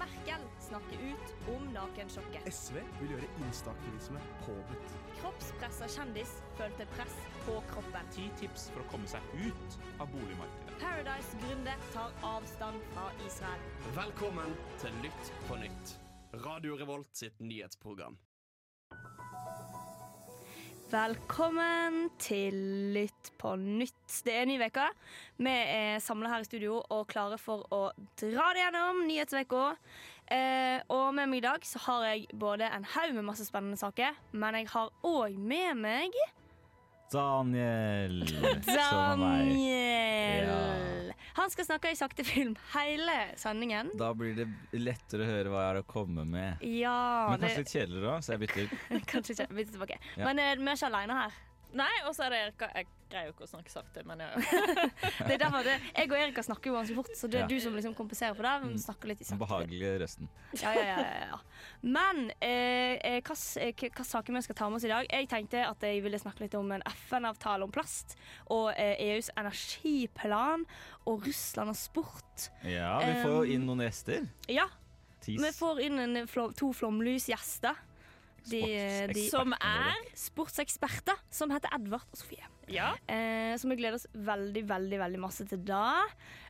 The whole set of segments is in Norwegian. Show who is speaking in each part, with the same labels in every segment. Speaker 1: Merkel snakker ut om nakensjokket.
Speaker 2: SV vil gjøre instaaktivisme påbudt.
Speaker 1: Kroppspressa kjendis følte press på kroppen.
Speaker 3: Ti tips for å komme seg ut av boligmarkedet.
Speaker 1: Paradise-gründer tar avstand fra Israel.
Speaker 4: Velkommen til Lytt på nytt. Radio Revolt sitt nyhetsprogram.
Speaker 1: Velkommen til Lytt på nytt. Det er ny uke. Vi er samla her i studio og klare for å dra det gjennom nyhetsveka. Eh, og med meg i dag så har jeg både en haug med masse spennende saker, men jeg har òg med meg
Speaker 5: Daniel. som var meg.
Speaker 1: Daniel. Han skal snakke i sakte film hele sendingen.
Speaker 5: Da blir det lettere å høre hva jeg har å komme med.
Speaker 1: Ja,
Speaker 5: Men kanskje litt kjedeligere òg, så jeg bytter.
Speaker 1: det, kanskje ikke. Vi er tilbake.
Speaker 5: Ja.
Speaker 1: Men eh, vi er ikke aleine her.
Speaker 6: Nei, og så er det Erika. Jeg greier jo ikke å snakke sakte, men jeg,
Speaker 1: Det er derfor det, jeg og Erika snakker jo ganske fort, så det er
Speaker 5: Ja. Mm.
Speaker 1: du som liksom kompenserer for det. Vi snakker litt i sakte.
Speaker 5: Behagelig resten.
Speaker 1: Ja, ja, ja, ja, ja. Men eh, eh, hva, s- eh, hva saker vi skal ta med oss i dag? Jeg tenkte at jeg ville snakke litt om en FN-avtale om plast, og eh, EUs energiplan, og Russland og sport.
Speaker 5: Ja, vi får jo inn noen gjester.
Speaker 1: Ja,
Speaker 5: Tis.
Speaker 1: vi får inn en, flo- to flomlysgjester. De, eh, de
Speaker 5: Sportsekspertene
Speaker 6: som er
Speaker 1: sportseksperter som heter Edvard og Sofie.
Speaker 6: Ja.
Speaker 1: Eh, så vi gleder oss veldig, veldig veldig masse til da.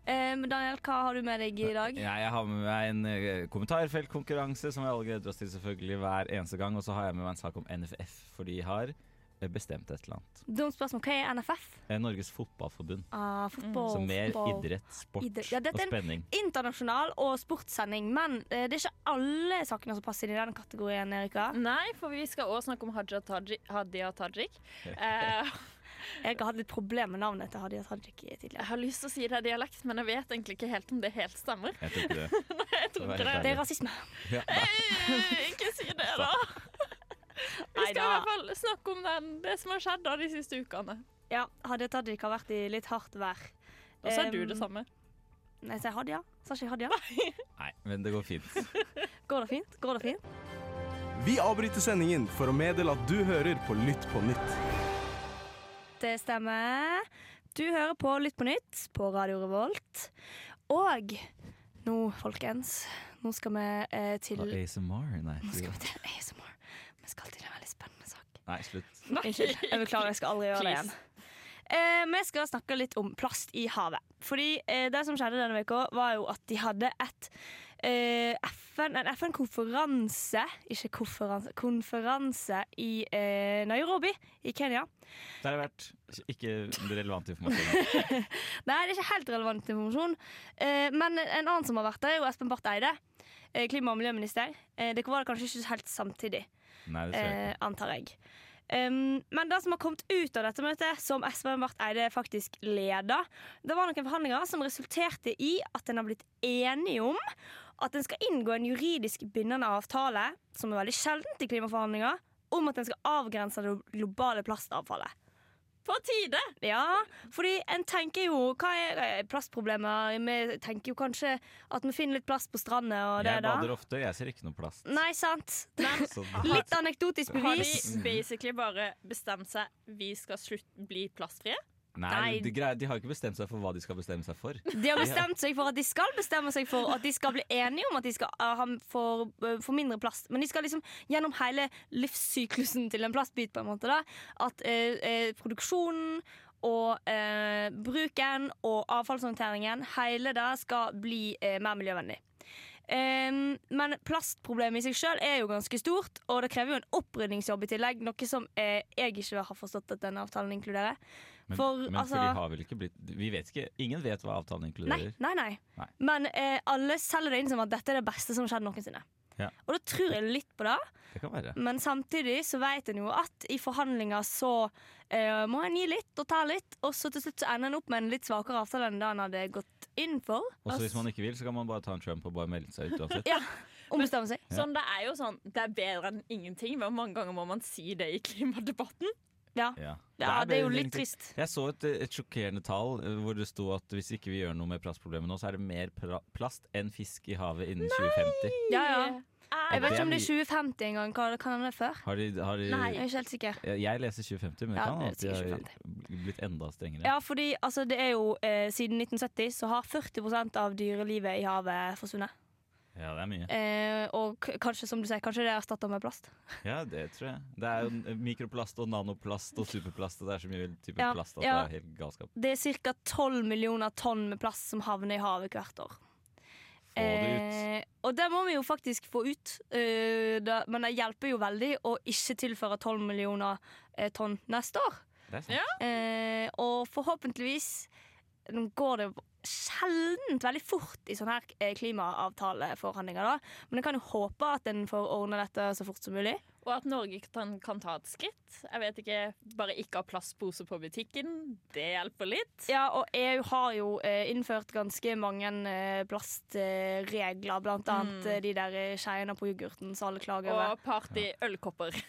Speaker 1: Eh, men Daniel, hva har du med deg i dag?
Speaker 5: Ja, jeg har med meg en eh, kommentarfeltkonkurranse som vi alle gleder oss til selvfølgelig hver eneste gang. Og så har jeg med meg en sak om NFF, for de har eh, bestemt et eller annet.
Speaker 1: Dumt spørsmål. Hva er NFF?
Speaker 5: Eh, Norges Fotballforbund.
Speaker 1: Ah, fotball,
Speaker 5: Så mer
Speaker 1: fotball.
Speaker 5: Mm. idrett, sport
Speaker 1: Idrett. Ja, dette
Speaker 5: og
Speaker 1: er en-
Speaker 5: spenning.
Speaker 1: internasjonal og sportssending, men eh, det er ikke alle sakene som passer inn i den kategorien, Erika.
Speaker 5: Mm.
Speaker 6: Nei, for vi skal også snakke om Hadia Tajik. Hadia Tajik. Eh,
Speaker 1: Erika hadde litt problemer med navnet til Hadia Tajik i- tidligere.
Speaker 6: jeg har lyst til å si det er dialekt, men jeg vet egentlig ikke helt om det helt stemmer.
Speaker 5: Jeg tror ikke det.
Speaker 6: Jeg tror ikke
Speaker 5: Veldig
Speaker 6: det.
Speaker 1: Det er rasisme.
Speaker 5: Ja,
Speaker 6: Eh, Ikke si det, da! Vi skal i
Speaker 1: Neida.
Speaker 6: hvert fall snakke om den, det som har skjedd da de siste ukene.
Speaker 1: Ja, Hadia Tajik har vært i litt hardt vær.
Speaker 6: Og så er du
Speaker 1: Em,
Speaker 6: det samme.
Speaker 1: Nei, sier jeg Hadia? Sa ikke jeg Hadia?
Speaker 5: Nei, men det går fint.
Speaker 1: Går det fint? Går det fint?
Speaker 2: Vi avbryter sendingen for å meddele at du hører på Lytt på nytt.
Speaker 1: Det stemmer. Du hører på Lytt på nytt på Radio Revolt. Og nå, folkens, nå skal vi eh, til
Speaker 5: Og ASMR? Nei,
Speaker 1: Nå
Speaker 5: tror
Speaker 1: skal
Speaker 5: jeg-
Speaker 1: vi til ASMR. Vi skal til en veldig spennende sak.
Speaker 5: Nei slutt.
Speaker 1: Unnskyld. Jeg beklager, jeg skal aldri gjøre det igjen.
Speaker 6: Please.
Speaker 1: Eh, vi skal snakke litt om plast i havet. Fordi eh, Det som skjedde denne uka, var jo at de hadde et eh, FN, en FN-konferanse Ikke konferanse, konferanse i eh, Nairobi i Kenya.
Speaker 5: Der har jeg vært. Ikke relevant informasjon.
Speaker 1: Nei, det er ikke helt relevant informasjon. Eh, men en annen som har vært der, er jo Espen Barth Eide. eh, Klima- og miljøminister. Eh, Dere var det kanskje ikke helt samtidig.
Speaker 5: Nei, det tror jeg
Speaker 1: eh, antar jeg. Um, men det som har kommet ut av dette møtet, som Espen Barth Eide faktisk leda, det var noen forhandlinger som resulterte i at en har blitt enige om at en skal inngå en juridisk bindende avtale, som er veldig sjeldent i klimaforhandlinger, om at en skal avgrense det globale plastavfallet.
Speaker 6: På tide!
Speaker 1: Ja, fordi en tenker jo Hva er eh, plastproblemer? Vi tenker jo kanskje at vi finner litt plast på stranda og
Speaker 5: ikke.
Speaker 1: det
Speaker 5: Jeg
Speaker 1: da.
Speaker 5: bader ofte, jeg ser ikke noe plast.
Speaker 1: Nei, sant?
Speaker 5: Så
Speaker 1: Litt anekdotisk
Speaker 6: Har
Speaker 1: bevis.
Speaker 6: de basically bare bestemt seg vi skal slutt bli plastfrie?
Speaker 5: Nei, de, greier, de har ikke bestemt seg for hva de skal bestemme seg for.
Speaker 1: De har bestemt seg for at de skal bestemme seg for at de skal bli enige om at de skal eh, ha for, for mindre plast. Men de skal liksom gjennom hele livssyklusen til en plastbit, på en måte. da At eh, eh, produksjonen og eh, bruken og avfallshåndteringen, hele det skal bli eh, mer miljøvennlig. Ehm, men plastproblemet i seg sjøl er jo ganske stort, og det krever jo en opprydningsjobb i tillegg. Noe som eh, jeg ikke har forstått at denne avtalen inkluderer.
Speaker 5: Men,
Speaker 1: For,
Speaker 5: men
Speaker 1: altså-
Speaker 5: for de har vel ikke blitt Vi vet ikke, Ingen vet hva avtalen
Speaker 1: Nei,
Speaker 5: inkluderer.
Speaker 1: nei, nei.
Speaker 5: Nei.
Speaker 1: Men eh, alle selger det inn som at dette er det beste som har skjedd noensinne.
Speaker 5: Ja.
Speaker 1: Og da tror jeg litt på det,
Speaker 5: Det kan være.
Speaker 1: men samtidig så vet en jo at i forhandlinger så eh, må en gi litt og ta litt, og så til slutt så ender en opp med en litt svakere avtale enn det en hadde gått inn for.
Speaker 5: Og så hvis man ikke vil, så kan man bare ta en Trump og bare melde seg ut uansett.
Speaker 1: Ja, Ombestemme seg.
Speaker 6: Sånn, det er jo sånn, det er bedre enn ingenting. Hvor mange ganger må man si det i klimadebatten?
Speaker 1: Ja.
Speaker 5: Ja.
Speaker 1: Ja, det er jo
Speaker 5: veldig
Speaker 1: litt
Speaker 5: enkelt.
Speaker 1: trist.
Speaker 5: Jeg så et, et sjokkerende tall eh, hvor det sto at hvis ikke vi gjør noe med plastproblemet nå, så er det mer pra plast enn fisk i havet innen 2050.
Speaker 1: ja, ja. Jeg
Speaker 6: Er
Speaker 1: vet
Speaker 5: det
Speaker 1: ikke
Speaker 5: er
Speaker 1: om det er
Speaker 5: mye.
Speaker 1: 2050 engang. Hva hva kan det være før?
Speaker 5: Har de, har de
Speaker 1: Jeg er ikke helt sikker.
Speaker 5: Jeg- Jeg leser 2050, men det
Speaker 1: Ja,
Speaker 5: kan
Speaker 1: det
Speaker 5: at de
Speaker 1: sier
Speaker 5: har
Speaker 1: 2050.
Speaker 5: blitt enda strengere.
Speaker 1: Ja, fordi altså, det er jo eh, siden 1970 så har 40 av dyrelivet i havet forsvunnet.
Speaker 5: Ja, det er mye.
Speaker 1: Eh, og k kanskje som du sier, kanskje det er erstatta med plast.
Speaker 5: Ja, det tror jeg. Det er jo n- mikroplast og nanoplast og superplast, og det er så mye type
Speaker 1: Ja,
Speaker 5: plast at
Speaker 1: ja.
Speaker 5: det er helt galskap.
Speaker 1: Det er ca. 12 millioner tonn med plast som havner i havet hvert år.
Speaker 5: Få det ut.
Speaker 1: Eh, og det må vi jo faktisk få ut. eh, da, men det hjelper jo veldig å ikke tilføre 12 millioner eh, tonn neste år.
Speaker 5: Det er sant.
Speaker 6: Ja.
Speaker 1: Eh, og forhåpentligvis Nå går det jo sjeldent veldig fort i sånne her eh, klimaavtaleforhandlinger, da. Men jeg kan jo håpe at en får ordna dette så fort som mulig.
Speaker 6: Og at Norge kan, kan ta et skritt. Jeg vet ikke, Bare ikke ha plastpose på butikken, det hjelper litt.
Speaker 1: Ja, og EU har jo eh, innført ganske mange eh, plastregler, blant annet eh, de der eh, skeiene på yoghurten som alle klager over.
Speaker 6: Og party-ølkopper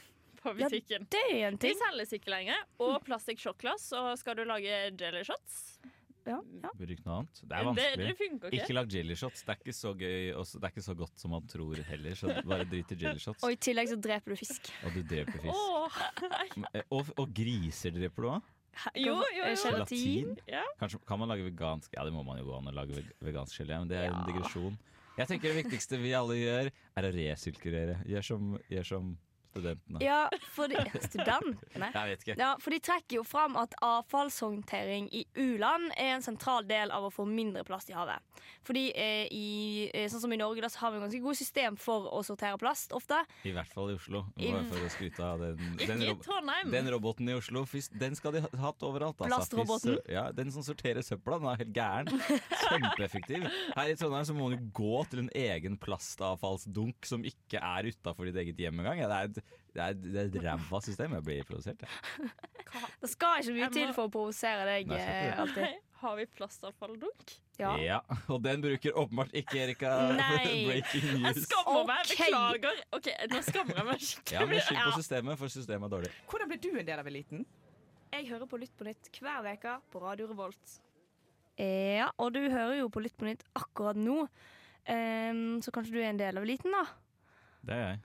Speaker 6: på
Speaker 1: Ja,
Speaker 6: butikken.
Speaker 1: Det er en
Speaker 6: De
Speaker 1: ting.
Speaker 6: selges ikke lenger. Og plastikk-shotglass. Og skal du lage jelly shots?
Speaker 1: Ja, ja.
Speaker 5: Bruk noe annet. Det er
Speaker 6: Det,
Speaker 5: vanskelig.
Speaker 6: det funker ikke.
Speaker 5: Ikke lag jelly shots. Det er ikke så gøy og så- det er ikke så godt som man tror heller. Så bare drit i jelly shots.
Speaker 1: Og i tillegg så dreper du fisk.
Speaker 5: Og du dreper fisk.
Speaker 6: Åh,
Speaker 5: Eh, Og, og griser dreper du òg?
Speaker 6: Jo, jo,
Speaker 1: Eh,
Speaker 6: jo.
Speaker 1: Gelatin.
Speaker 6: Ja.
Speaker 5: Kanskje, kan man lage vegansk Ja, det må man jo gå an å lage veg- vegansk gelé, men det er
Speaker 1: Ja.
Speaker 5: en digresjon. Jeg tenker det viktigste vi alle gjør, er å resirkulere. Gjør som, gjør som studentene.
Speaker 1: Ja, for de, student? Nei.
Speaker 5: Jeg vet ikke.
Speaker 1: Ja, for de trekker jo fram at avfallshåndtering i u-land er en sentral del av å få mindre plast i havet. Fordi eh, i, eh, sånn som i Norge da, så har vi ganske gode system for å sortere plast ofte.
Speaker 5: I hvert fall i Oslo.
Speaker 1: I-
Speaker 5: Bare for å skryte av den, den,
Speaker 6: Ikke i
Speaker 5: rob
Speaker 6: Trondheim.
Speaker 5: den roboten i Oslo. Fy, s- den skal de ha hatt overalt. altså.
Speaker 1: Plastroboten?
Speaker 5: Fy sø- Ja, den som sorterer søpla. Den er helt gæren. Kjempeeffektiv. Her i Trondheim så må man jo gå til en egen plastavfallsdunk som ikke er utafor ditt eget hjem engang. Ja, det er et, det er et, det er et ræva system. Jeg blir provosert. jeg.
Speaker 1: Det skal ikke mye
Speaker 6: Jeg må-
Speaker 1: til for å provosere deg
Speaker 5: Nei, jeg skal
Speaker 1: eh,
Speaker 5: ikke
Speaker 1: alltid.
Speaker 6: Har vi plastavfalldunk?
Speaker 1: Ja.
Speaker 5: Ja, og den bruker åpenbart ikke Erika
Speaker 1: Nei.
Speaker 5: Breaking
Speaker 6: Jeg
Speaker 5: news.
Speaker 6: skammer meg.
Speaker 1: Ok.
Speaker 6: Beklager. Ok, Nå skammer jeg meg
Speaker 5: Ja, men
Speaker 6: skikkelig.
Speaker 5: Skyld på systemet, for systemet er dårlig.
Speaker 7: Hvordan ble du en del av eliten?
Speaker 1: Jeg hører på Lytt på nytt hver veke på Radio Revolt. Ja, og du hører jo på Lytt på nytt akkurat nå. Ehm, så kanskje du er en del av eliten, da?
Speaker 5: Det er jeg.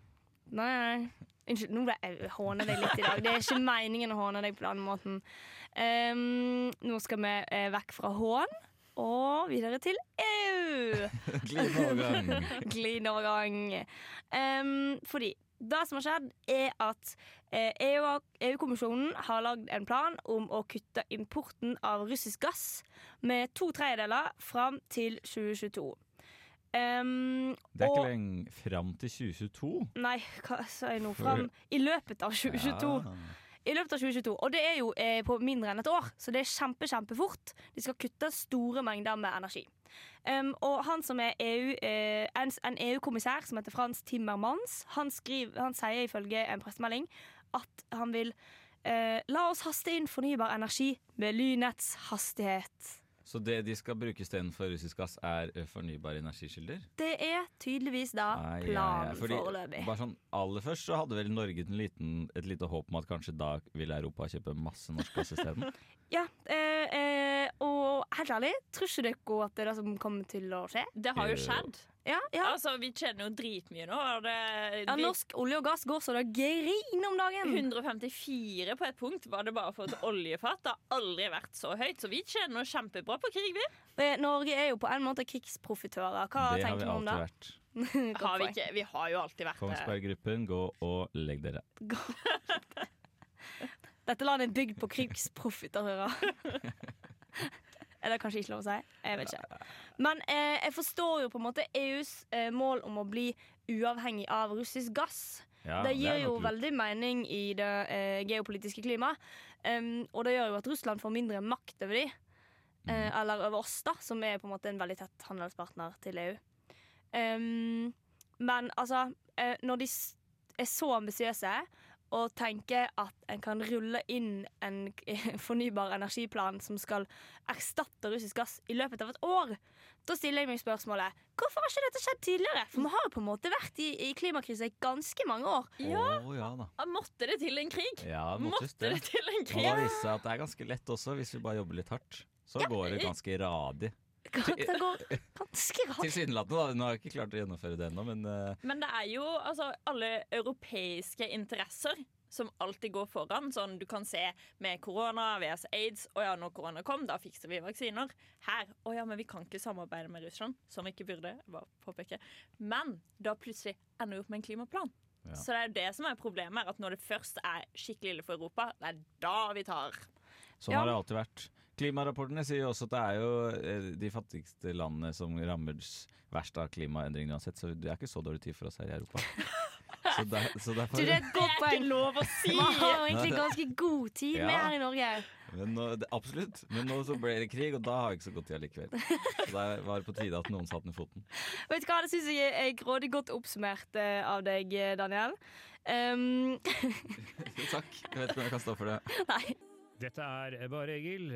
Speaker 1: Nei, nei. Unnskyld, nå ble jeg håna deg litt i dag. Det er ikke meningen å håne deg på den måten. Ehm, nå skal vi eh, vekk fra hån og videre til EU.
Speaker 5: Glideovergang.
Speaker 1: Glidende overgang. Ehm, fordi det som har skjedd, er at eh, EU EU-kommisjonen har lagd en plan om å kutte importen av russisk gass med to tredjedeler fram til 2022. Ehm,
Speaker 5: Det er
Speaker 1: og-
Speaker 5: ikke lenge fram til 2022.
Speaker 1: Nei, hva sa jeg nå? Fram i løpet av 2022. I løpet av 2022, Og det er jo eh, på mindre enn et år, så det er kjempe, kjempefort. De skal kutte store mengder med energi. Um, og han som er EU, eh, en, en EU-kommissær som heter Frans Timmermans, han, skriver, han sier ifølge en pressemelding at han vil eh, La oss haste inn fornybar energi med lynets hastighet.
Speaker 5: Så det de skal bruke istedenfor russisk gass, er ø, fornybare energikilder?
Speaker 1: Det er tydeligvis da
Speaker 5: Ai, ai, ai.
Speaker 1: planen
Speaker 5: Fordi,
Speaker 1: foreløpig.
Speaker 5: Bare sånn, aller først så hadde vel Norge en liten, et lite håp om at kanskje da vil Europa kjøpe masse norsk gass isteden.
Speaker 1: Ja, eh, eh, og helt ærlig, tror ikke dere at det er det som kommer til å skje?
Speaker 6: Det har jo skjedd.
Speaker 1: Ja, ja.
Speaker 6: Altså, Vi tjener jo dritmye nå. Og det,
Speaker 1: ja
Speaker 6: vi-
Speaker 1: Norsk olje og gass går så det griner om dagen.
Speaker 6: 154 på et punkt var det bare for et oljefat. Det har aldri vært så høyt, så vi tjener jo kjempebra på krig, vi.
Speaker 1: Eh, Norge er jo på en måte krigsprofitører. Hva
Speaker 5: det har
Speaker 1: tenker
Speaker 5: vi
Speaker 1: du om
Speaker 5: alltid
Speaker 1: det?
Speaker 5: vært.
Speaker 6: Har vi, ikke, vi har jo alltid vært det.
Speaker 5: Kongsberg-gruppen, gå og legg dere.
Speaker 1: Dette landet er bygd på krigsprofitører. Er det kanskje ikke lov å si? Jeg vet ikke. Men eh, jeg forstår jo på en måte EUs eh, mål om å bli uavhengig av russisk gass.
Speaker 5: Ja,
Speaker 1: det gir
Speaker 5: er
Speaker 1: jo
Speaker 5: nok lurt.
Speaker 1: veldig mening i det eh, geopolitiske klimaet. Em, og det gjør jo at Russland får mindre makt over de. eh,
Speaker 5: Mhm.
Speaker 1: eller over oss, da, som er på en måte en veldig tett handelspartner til EU. Em, men altså, eh, når de s- er så ambisiøse og tenker at en kan rulle inn en k- fornybar energiplan som skal erstatte russisk gass i løpet av et år, da stiller jeg meg spørsmålet hvorfor har ikke dette skjedd tidligere? For vi har jo på en måte vært i, i klimakrise i ganske mange år.
Speaker 5: Å, ja da.
Speaker 6: Ah, Måtte det til en krig?
Speaker 5: Ja,
Speaker 6: Måtte
Speaker 5: måttes det.
Speaker 6: det til en
Speaker 5: Og da
Speaker 6: krig?
Speaker 5: viser det seg at det er ganske lett også, hvis vi bare jobber litt hardt. Så går
Speaker 1: eh,
Speaker 5: det ganske radig.
Speaker 1: Det går ganske rart.
Speaker 5: Tilsynelatende, da. Hun har jeg ikke klart å gjennomføre det ennå, men eh,
Speaker 6: Men det er jo altså, alle europeiske interesser som alltid går foran. Sånn, du kan se med korona, VS aids Å ja, når korona kom, da fikser vi vaksiner. Her Å ja, men vi kan ikke samarbeide med Russland. Som vi ikke burde. jeg Bare påpeke. Men da plutselig ender vi opp med en klimaplan.
Speaker 5: Ja.
Speaker 6: Så det er jo det som er problemet, er at når det først er skikkelig ille for Europa, det er da vi tar.
Speaker 5: Sånn
Speaker 1: Ja.
Speaker 5: har det alltid vært. Klimarapportene sier jo også at det er jo eh, de fattigste landene som rammer s- verst av klimaendringene uansett, så det er ikke så dårlig tid for oss her i Europa. Så, der, så
Speaker 1: Du,
Speaker 5: derfor,
Speaker 1: det er et godt poeng.
Speaker 6: lov å si!
Speaker 1: Vi har jo egentlig ganske god tid
Speaker 5: Ja.
Speaker 1: med her i Norge.
Speaker 5: men nå, det, absolutt. Men nå så ble det krig, og da har vi ikke så god tid allikevel. Så der var det på tide at noen satte ned foten.
Speaker 1: Vet du hva, Det syns jeg er grådig godt oppsummert eh, av deg, eh, Daniel. Um,
Speaker 5: Takk. Jeg vet ikke om jeg kan stå for det.
Speaker 1: nei.
Speaker 7: Dette er Bare Egil.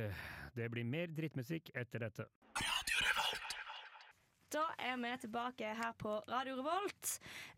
Speaker 7: Det blir mer drittmusikk etter dette.
Speaker 1: Da er vi tilbake her på Radio Revolt.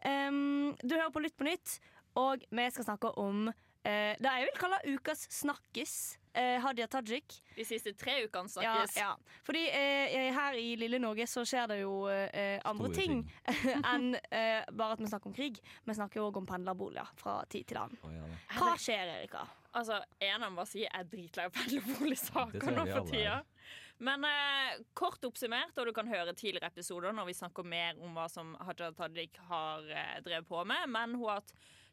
Speaker 1: Um, du hører på Lytt på nytt, og vi skal snakke om eh, det jeg vil kalle ukas snakkis. eh, Hadia Tajik.
Speaker 6: De siste tre ukene
Speaker 1: Ja,
Speaker 6: snakkes.
Speaker 1: ja. Fordi eh, her i lille Norge så skjer det jo eh, andre
Speaker 5: Store
Speaker 1: ting, enn eh, bare at vi snakker om krig. Vi snakker òg om pendlerboliger fra tid til annen.
Speaker 5: Å, ja, da.
Speaker 1: Hva skjer, Erika?
Speaker 6: Altså, en av meg sier jeg er dritlei av
Speaker 5: Det
Speaker 6: pendlerboligsaker
Speaker 5: tror jeg
Speaker 6: nå
Speaker 5: vi
Speaker 6: for
Speaker 5: alle
Speaker 6: tida.
Speaker 5: er.
Speaker 6: Men eh, kort oppsummert, og du kan høre tidligere episoder når vi snakker mer om hva som Haja Tajik har eh, drevet på med, men hun har hatt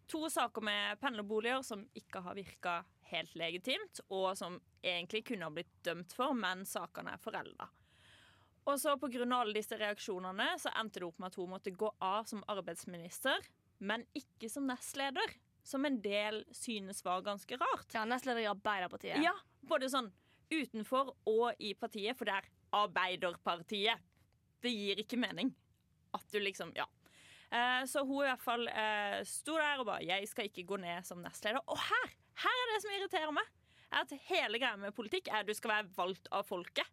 Speaker 6: to saker med pendlerboliger som ikke har virka helt legitimt, og som egentlig kunne ha blitt dømt for, men sakene er forelda. Og så pga. alle disse reaksjonene så endte det opp med at hun måtte gå av som arbeidsminister, men ikke som nestleder, som en del synes var ganske rart.
Speaker 1: Ja, Nestleder i Arbeiderpartiet.
Speaker 6: Ja, både sånn utenfor og i partiet, for det er Arbeiderpartiet. Det gir ikke mening at du liksom Ja. Eh, så hun i hvert fall eh, sto der og bare 'Jeg skal ikke gå ned som nestleder'. Og her! Her er det som irriterer meg. Er at Hele greia med politikk er at du skal være valgt av folket.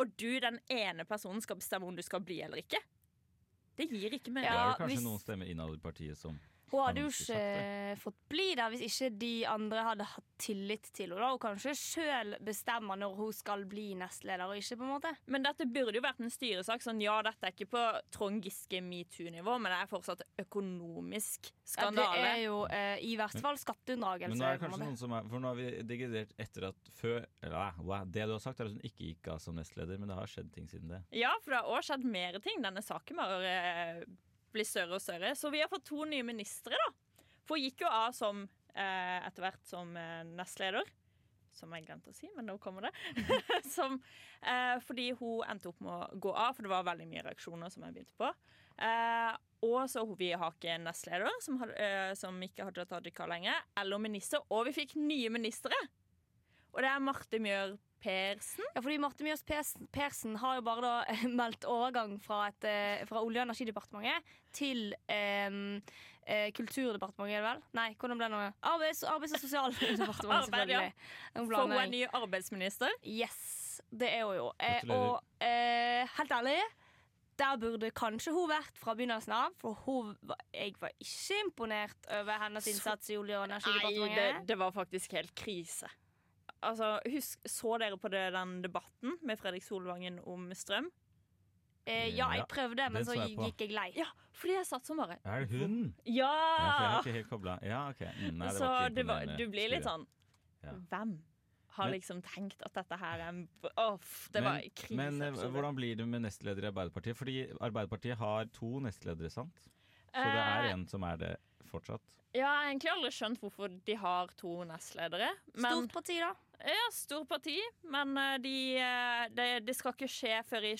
Speaker 6: Og du, den ene personen, skal bestemme om du skal bli eller ikke. Det gir ikke mening.
Speaker 5: Det er
Speaker 1: Ja,
Speaker 5: jo kanskje
Speaker 1: hvis-
Speaker 5: noen stemmer innad i partiet som
Speaker 1: Hun hadde jo
Speaker 5: Kan
Speaker 1: ikke
Speaker 5: ikke
Speaker 1: fått bli der hvis ikke de andre hadde hatt tillit til henne. da. Hun kan ikke sjøl bestemme når hun skal bli nestleder og ikke, på en måte.
Speaker 6: Men dette burde jo vært en styresak. Sånn, ja, dette er ikke på Trond Giske metoo-nivå, men det er fortsatt økonomisk
Speaker 1: Ja, det
Speaker 6: skandale.
Speaker 1: er jo eh, i hvert fall skatteunndragelse.
Speaker 5: Men nå er det
Speaker 1: på en
Speaker 5: kanskje
Speaker 1: måte.
Speaker 5: noen som er For nå har vi digredert etter at før eller, nei, wow, Det du har sagt, er at hun ikke gikk av som nestleder, men det har skjedd ting siden det.
Speaker 6: Ja, for det har òg skjedd mer ting. Denne saken bare eh, blir større og større. Så vi har fått to nye ministre, da. For hun gikk jo av som eh, etter hvert som eh, nestleder. Som jeg glemte å si, men nå kommer det. som, eh, fordi hun endte opp med å gå av, for det var veldig mye reaksjoner som jeg begynte på. Eh, og så har vi har ikke en nestleder, som, har, eh, som ikke hadde Tajika lenger, eller minister. Og vi fikk nye ministre! Og det er Marte Mjør Persen.
Speaker 1: Ja, fordi Marte Mjøs Pers- Persen har jo bare da eh, meldt overgang fra, et, eh, fra Olje- og energidepartementet til eh, eh, Kulturdepartementet, er det vel? Nei, hvordan ble det nå? Arbeids-, Arbeids og sosialdepartementet,
Speaker 6: Arbeid, ja.
Speaker 1: selvfølgelig. Nå
Speaker 6: For hun
Speaker 1: blander
Speaker 6: er
Speaker 1: jeg.
Speaker 6: ny arbeidsminister.
Speaker 1: Yes, det er hun jo. Eh,
Speaker 5: Gratulerer.
Speaker 1: og eh, helt ærlig, der burde kanskje hun vært fra begynnelsen av. For hun var, jeg var ikke imponert over hennes
Speaker 6: Så-
Speaker 1: innsats i Olje- og
Speaker 6: Nei, det,
Speaker 1: energidepartementet.
Speaker 6: det var faktisk helt krise. Altså, husk, Så dere på det, den debatten med Fredrik Solvangen om strøm?
Speaker 1: Eh, ja, jeg
Speaker 5: Ja,
Speaker 1: prøvde, men
Speaker 5: den
Speaker 1: så
Speaker 5: så jeg på.
Speaker 1: gikk jeg lei.
Speaker 6: Ja, fordi jeg satt som bare
Speaker 5: Er det hun? Ja, for jeg
Speaker 6: Ja!
Speaker 5: har ikke helt kobla. Ja, ok. Mm, nei, det
Speaker 6: Ah. så
Speaker 5: var ikke
Speaker 6: det var,
Speaker 5: imponerende
Speaker 6: du blir litt
Speaker 5: skue.
Speaker 6: sånn
Speaker 5: Ja.
Speaker 6: Hvem har
Speaker 5: Men-
Speaker 6: liksom tenkt at dette her er en b- Åff, det var krise.
Speaker 5: Men eh, hvordan blir det med nestleder i Arbeiderpartiet? Fordi Arbeiderpartiet har to nestledere, sant? Så det
Speaker 6: Eh.
Speaker 5: er en som er det fortsatt.
Speaker 6: Ja, jeg har egentlig aldri skjønt hvorfor de har to nestledere. Men,
Speaker 1: Stort parti, da.
Speaker 6: Ja, stort parti, men eh, de, eh, det det skal ikke skje før i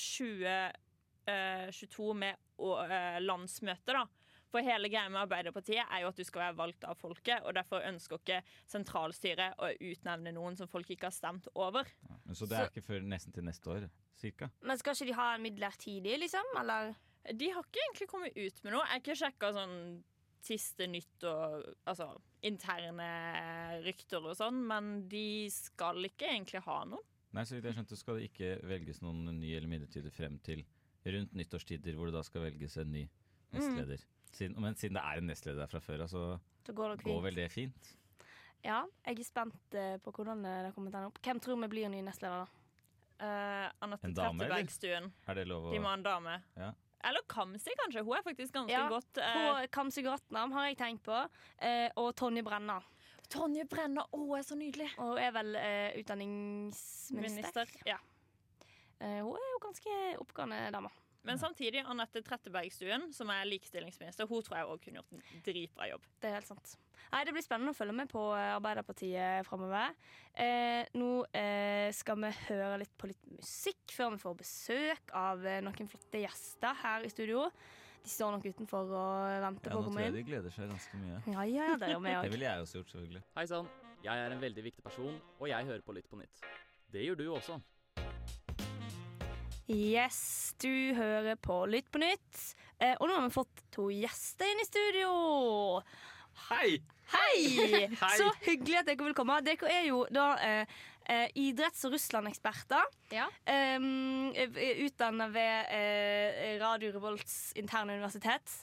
Speaker 6: 2022 med å- eh, landsmøtet, da. For hele greia med Arbeiderpartiet er jo at du skal være valgt av folket, og derfor ønsker ikke sentralstyret å utnevne noen som folk ikke har stemt over.
Speaker 5: Men Så det
Speaker 1: Så-
Speaker 5: er ikke før nesten til neste år, cirka.
Speaker 1: Men skal ikke de ha en midlertidig, liksom? Eller?
Speaker 6: De har ikke egentlig kommet ut med noe. Jeg har ikke sjekka sånn siste nytt og altså interne rykter og sånn, men de skal ikke egentlig ha noen.
Speaker 5: Nei, så vidt jeg skjønte skal det ikke velges noen ny eller midlertidig frem til rundt nyttårstider, hvor det da skal velges en ny nestleder. Siden, men siden det er en nestleder der fra før, altså,
Speaker 1: Så går det fint.
Speaker 5: går vel det fint?
Speaker 1: Ja, jeg er spent eh, på hvordan eh, det kommer til å ende opp. Hvem tror vi blir ny nestleder, da?
Speaker 6: Eh, Anette
Speaker 5: En dame, eller?
Speaker 6: Trettebergstuen.
Speaker 5: Er det lov å
Speaker 6: De må ha en dame.
Speaker 5: Ja.
Speaker 6: Eller Kamzy, kanskje. Hun er faktisk ganske
Speaker 1: Ja,
Speaker 6: godt eh,
Speaker 1: På Kamzy Gratnam har jeg tenkt på. eh, Og Tonje Brenna.
Speaker 6: Tonje Brenna, å, er så nydelig!
Speaker 1: Og er vel eh, utdanningsminister.
Speaker 6: Minister. Ja.
Speaker 1: Eh, hun er jo ganske oppegående dame.
Speaker 6: Men samtidig, Anette Trettebergstuen, som er likestillingsminister, hun tror jeg også kunne gjort en dritbra jobb.
Speaker 1: Det er helt sant. Nei, Det blir spennende å følge med på eh, Arbeiderpartiet framover. Eh, nå eh, skal vi høre litt på litt musikk før vi får besøk av eh, noen flotte gjester her i studio. De står nok utenfor og venter på
Speaker 5: Ja, nå
Speaker 1: å
Speaker 5: tror
Speaker 1: komme
Speaker 5: jeg
Speaker 1: inn.
Speaker 5: de gleder seg ganske mye.
Speaker 1: Ja, ja, det gjør vi
Speaker 5: Det
Speaker 1: òg.
Speaker 5: ville jeg også gjort, selvfølgelig.
Speaker 8: Hei sann, jeg er en veldig viktig person, og jeg hører på Lytt på nytt. Det gjør du også.
Speaker 1: Yes, du hører på Lytt på nytt. Eh, og nå har vi fått to gjester inn i studio.
Speaker 8: Hei!
Speaker 1: Hei!
Speaker 8: Hei.
Speaker 1: Så hyggelig at dere vil komme. Dere er jo da eh, eh, idretts- og Russland-eksperter.
Speaker 9: Ja.
Speaker 1: Um, Utdanna ved eh, Radio Revolts interne universitet.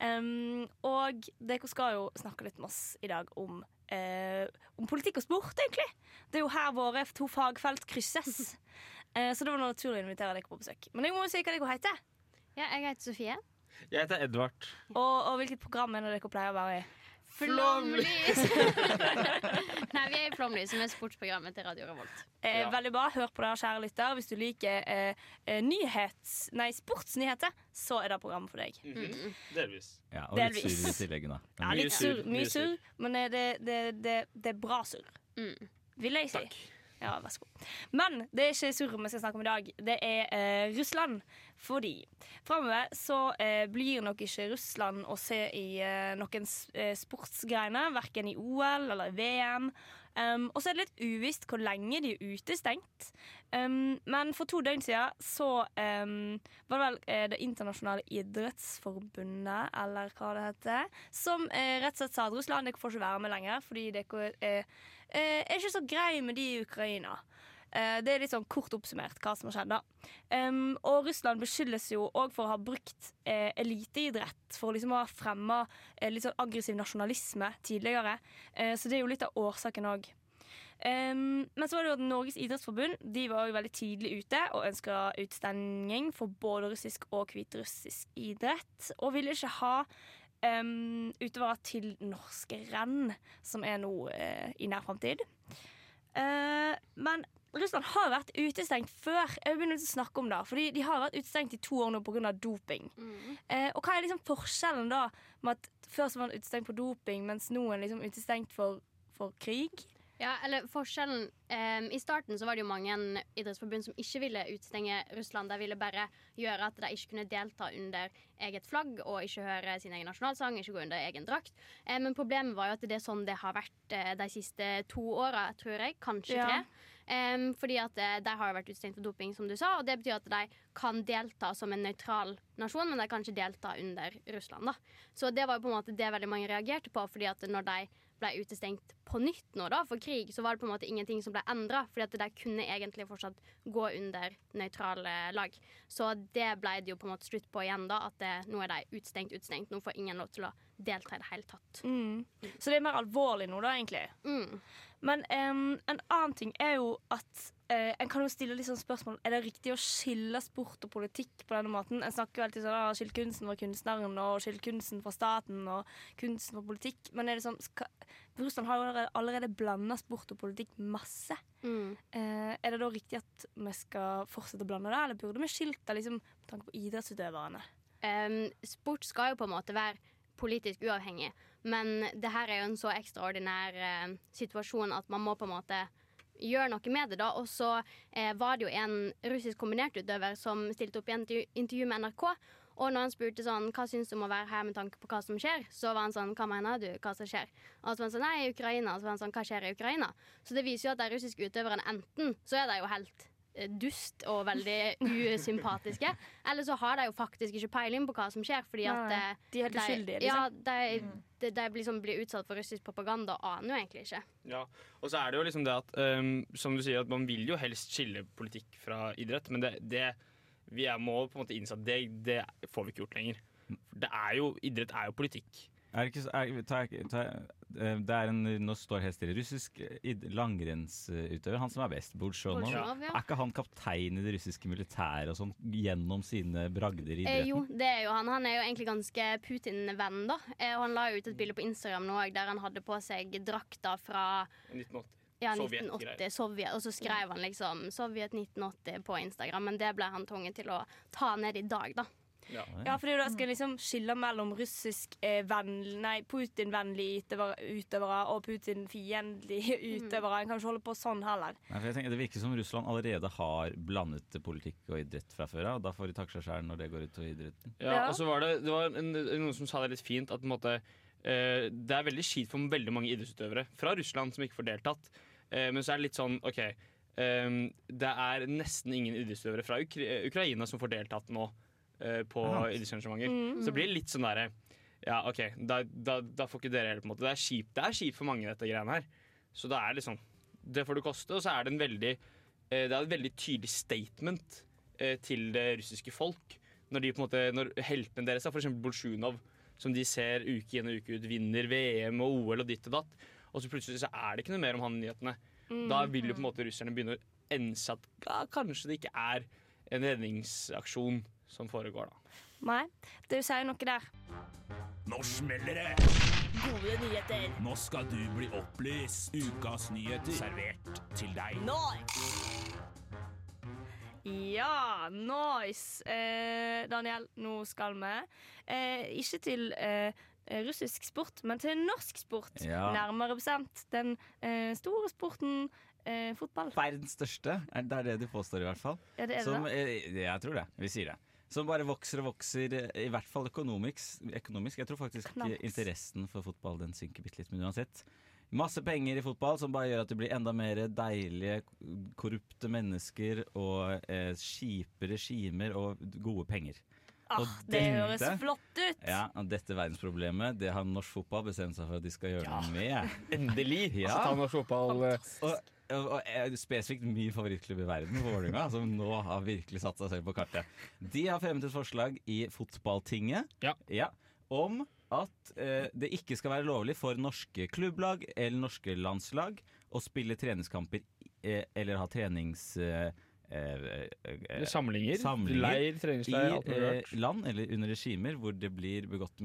Speaker 1: Um, og dere skal jo snakke litt med oss i dag om, eh, om politikk og sport, egentlig. Det er jo her våre to fagfelt krysses. Eh, Så det var naturlig å invitere dere på besøk. Men jeg må jo si hva dere heter.
Speaker 9: ja, jeg heter Sofie.
Speaker 4: Jeg heter Edvard.
Speaker 1: Og, og hvilket program er det dere pleier å være i.
Speaker 9: Flomlys! Nei, vi er i Flomlys, som er sportsprogrammet til Radio Revolt.
Speaker 1: Eh,
Speaker 4: Ja.
Speaker 1: Veldig bra. Hør på det, her, kjære lytter. Hvis du liker eh, eh, nyhets, nei, sportsnyheter, så er det programmet for deg.
Speaker 4: Delvis.
Speaker 5: Ja, og litt
Speaker 1: Delvis.
Speaker 5: sur i tillegg, da.
Speaker 1: Ja,
Speaker 4: Mye
Speaker 1: litt
Speaker 4: surr,
Speaker 1: surr,
Speaker 4: mye
Speaker 1: mye surr, men eh, det, det, det, det er bra surr.
Speaker 9: Mm.
Speaker 1: Vil jeg si.
Speaker 4: Takk.
Speaker 1: Ja, vær så god. Men det er ikke surret vi skal snakke om i dag. Det er eh, Russland. Fordi framover så eh, blir nok ikke Russland å se i eh, noen s- eh, sportsgreiner. Verken i OL eller i VM. Um, og så er det litt uvisst hvor lenge de er utestengt. Um, men for to døgn siden så um, var det vel eh, Det internasjonale idrettsforbundet, eller hva det heter, som eh, rett og slett sa at Russland dere får ikke være med lenger, fordi dere eh, eh, er ikke så grei med de i Ukraina. Eh, det er litt sånn kort oppsummert hva som har skjedd, da. Um, og Russland beskyldes jo òg for å ha brukt eh, eliteidrett for å liksom ha fremma eh, litt sånn aggressiv nasjonalisme tidligere. Eh, så det er jo litt av årsaken òg. Um, men så var det jo at Norges idrettsforbund De var jo veldig tidlig ute og ønska utstenging for både russisk og hviterussisk idrett. Og ville ikke ha um, utøvere til norske renn, som er nå eh, i nær framtid. Eh, men Russland har vært utestengt før. Jeg begynner å snakke om det, fordi De har vært utestengt i to år nå pga. doping. Eh, og hva er liksom forskjellen da med at før så var man utestengt på doping, mens nå er man liksom utestengt for, for krig?
Speaker 9: Ja, eller forskjellen em, I starten så var det jo mange idrettsforbund som ikke ville utestenge Russland. De ville bare gjøre at de ikke kunne delta under eget flagg og ikke høre sin egen nasjonalsang, ikke gå under egen drakt. Eh, men problemet var jo at det er sånn det har vært eh, de siste to åra, tror jeg. Kanskje
Speaker 1: Ja.
Speaker 9: tre. Em, fordi at eh, de har jo vært utestengt for doping, som du sa. Og det betyr at de kan delta som en nøytral nasjon, men de kan ikke delta under Russland, da. Så det var jo på en måte det veldig mange reagerte på, fordi at når de ble utestengt på nytt nå da, for krig, så var det på en måte ingenting som ble endra, fordi at de kunne egentlig fortsatt gå under nøytrale lag. Så det ble det jo på en måte slutt på igjen, da, at eh, nå er de utestengt, utestengt. Nå får ingen lov til å delta i det hele tatt.
Speaker 1: Mm. Så det er mer alvorlig nå, da, egentlig.
Speaker 9: Mm.
Speaker 1: Men em, en annen ting er jo at eh, en kan jo stille litt sånn spørsmål Er det riktig å skille sport og politikk på denne måten. En snakker jo alltid sånn ah, skill kunsten fra kunstneren og skill kunsten fra staten og kunsten fra politikk. Men er det sånn ska, Russland har jo allerede, allerede blanda sport og politikk masse.
Speaker 9: Mm.
Speaker 1: Eh, er det da riktig at vi skal fortsette å blande det, eller burde vi skilt det liksom, med tanke på idrettsutøverne?
Speaker 9: Ehm, sport skal jo på en måte være politisk uavhengig, men det her er jo en så ekstraordinær eh, situasjon at man må på en måte gjøre noe med det. da, Og så eh, var det jo en russisk kombinertutøver som stilte opp i en intervju- intervju med NRK. Og når han spurte sånn, hva syns du om å være her med tanke på hva som skjer, så var han sånn hva mener du, hva som skjer? Og så var han sånn nei, Ukraina. Og så var han sånn hva skjer i Ukraina? Så det viser jo at de russiske utøverne enten så er de jo helt eh, dust og veldig usympatiske, eller så har de jo faktisk ikke peiling på hva som skjer, fordi at
Speaker 1: Nei,
Speaker 9: eh,
Speaker 1: De er helt uskyldige, liksom.
Speaker 9: Ja, de, de, de blir, sånn- blir utsatt for russisk propaganda og aner jo egentlig ikke.
Speaker 10: Ja, og så er det jo liksom det at ehm, Som du sier, at man vil jo helst skille politikk fra idrett, men det, det vi er, må på en måte innse at det, det får vi ikke gjort lenger. Det er jo, idrett er jo politikk.
Speaker 5: Er det ikke så er, tar jeg- tar jeg- eh, det er en, nå står det helt stille, russisk eh, id- langrennsutøver, han som er best, Bolsjunov.
Speaker 9: Bolsjunov, ja.
Speaker 5: Er ikke han kaptein i det russiske militæret og sånn, gjennom sine bragder i
Speaker 9: Eh,
Speaker 5: idretten?
Speaker 9: jo, det er jo han. Han er jo egentlig ganske Putin-venn, da. Eh, og han la jo ut
Speaker 1: Mm.
Speaker 9: et bilde på Instagram nå òg der han hadde på seg drakta fra
Speaker 10: 1980.
Speaker 9: ja,
Speaker 10: Sovjet-greier.
Speaker 9: 1980, Sovjet, og så skrev han liksom Sovjet 1980 på Instagram, men det ble han tvunget til å ta ned i dag, da.
Speaker 10: Ja.
Speaker 1: Ja, for det er jo da skal jeg liksom skille mellom russisk eh, venn- nei, Putin-vennlige utøver- utøvere og Putin-fiendtlige utøvere. En kan ikke holde på sånn heller.
Speaker 5: Nei, for jeg tenker, det virker som Russland allerede har blandet politikk og idrett fra før av. og Da får de takke seg sjøl når det går utover idretten.
Speaker 10: Ja,
Speaker 1: Ja.
Speaker 10: og så var det, det var en, noen som sa det litt fint, at på en måte, eh, det er veldig kjipt for veldig mange idrettsutøvere fra Russland som ikke får deltatt. Eh, men så er det litt sånn, ok, eh, det er nesten ingen idrettsutøvere fra Ukra Ukraina som får deltatt nå eh, på
Speaker 5: Ja.
Speaker 10: idrettsarrangementer. Så det blir litt sånn derre Ja, OK, da, da, da får ikke dere helt på en måte. Det er kjipt det er kjipt for mange, dette greiene her. Så det er liksom Det får det koste. Og så er det en veldig eh, Det er et veldig tydelig statement eh, til det russiske folk. Når, de på en måte, når heltene deres, da, for eksempel Bolsjunov, som de ser uke inn og uke ut, vinner VM og OL og ditt og datt, og så plutselig så er det ikke noe mer om han i nyhetene.
Speaker 1: Mm.
Speaker 10: Da vil jo på en måte russerne begynne å ense at ja, kanskje det ikke er en redningsaksjon som foregår, da.
Speaker 1: Nei, det sier noe der.
Speaker 3: Nå smeller det!
Speaker 6: Gode nyheter.
Speaker 3: Nå skal du bli opplyst. Ukas nyheter servert til deg.
Speaker 1: Ja, nice! Eh, Daniel, nå skal vi eh, ikke til eh, russisk sport, men til norsk sport.
Speaker 5: Ja.
Speaker 1: Nærmere bestemt den eh, store sporten eh, fotball.
Speaker 5: Verdens største, er- det er det de påstår i hvert fall.
Speaker 1: Ja, det er
Speaker 5: Som,
Speaker 1: det.
Speaker 5: eh, jeg tror det. Vi sier det. Som bare vokser og vokser, eh, i hvert fall økonomisk. økonomisk. Jeg tror faktisk
Speaker 1: Økonomisk.
Speaker 5: ikke interessen for fotball den synker bitte litt, men uansett. Masse penger i fotball som bare gjør at det blir enda mer deilige, korrupte mennesker og eh, kjipe regimer og gode penger.
Speaker 1: Ah,
Speaker 5: og
Speaker 1: det
Speaker 5: dette-
Speaker 1: høres flott ut!
Speaker 5: Ja, og Dette verdensproblemet det har norsk fotball bestemt seg for at de skal gjøre noe med.
Speaker 10: Endelig!
Speaker 5: Ja.
Speaker 10: Så tar norsk fotball eh,
Speaker 5: Og, og, og eh, spesifikt min favorittklubb i verden, Vålerenga, som nå har virkelig satt seg selv på kartet. De har fremmet et forslag i Fotballtinget
Speaker 10: Ja.
Speaker 5: om at eh, det ikke skal være lovlig for norske klubblag eller norske landslag å spille treningskamper eh, eller ha trenings... Eh, eh, eh,
Speaker 10: Samlinger,
Speaker 5: Samlinger.
Speaker 10: leir,
Speaker 5: i
Speaker 10: treningsleir, alt mulig
Speaker 5: eh,
Speaker 10: rart.
Speaker 5: land eller under regimer hvor det blir begått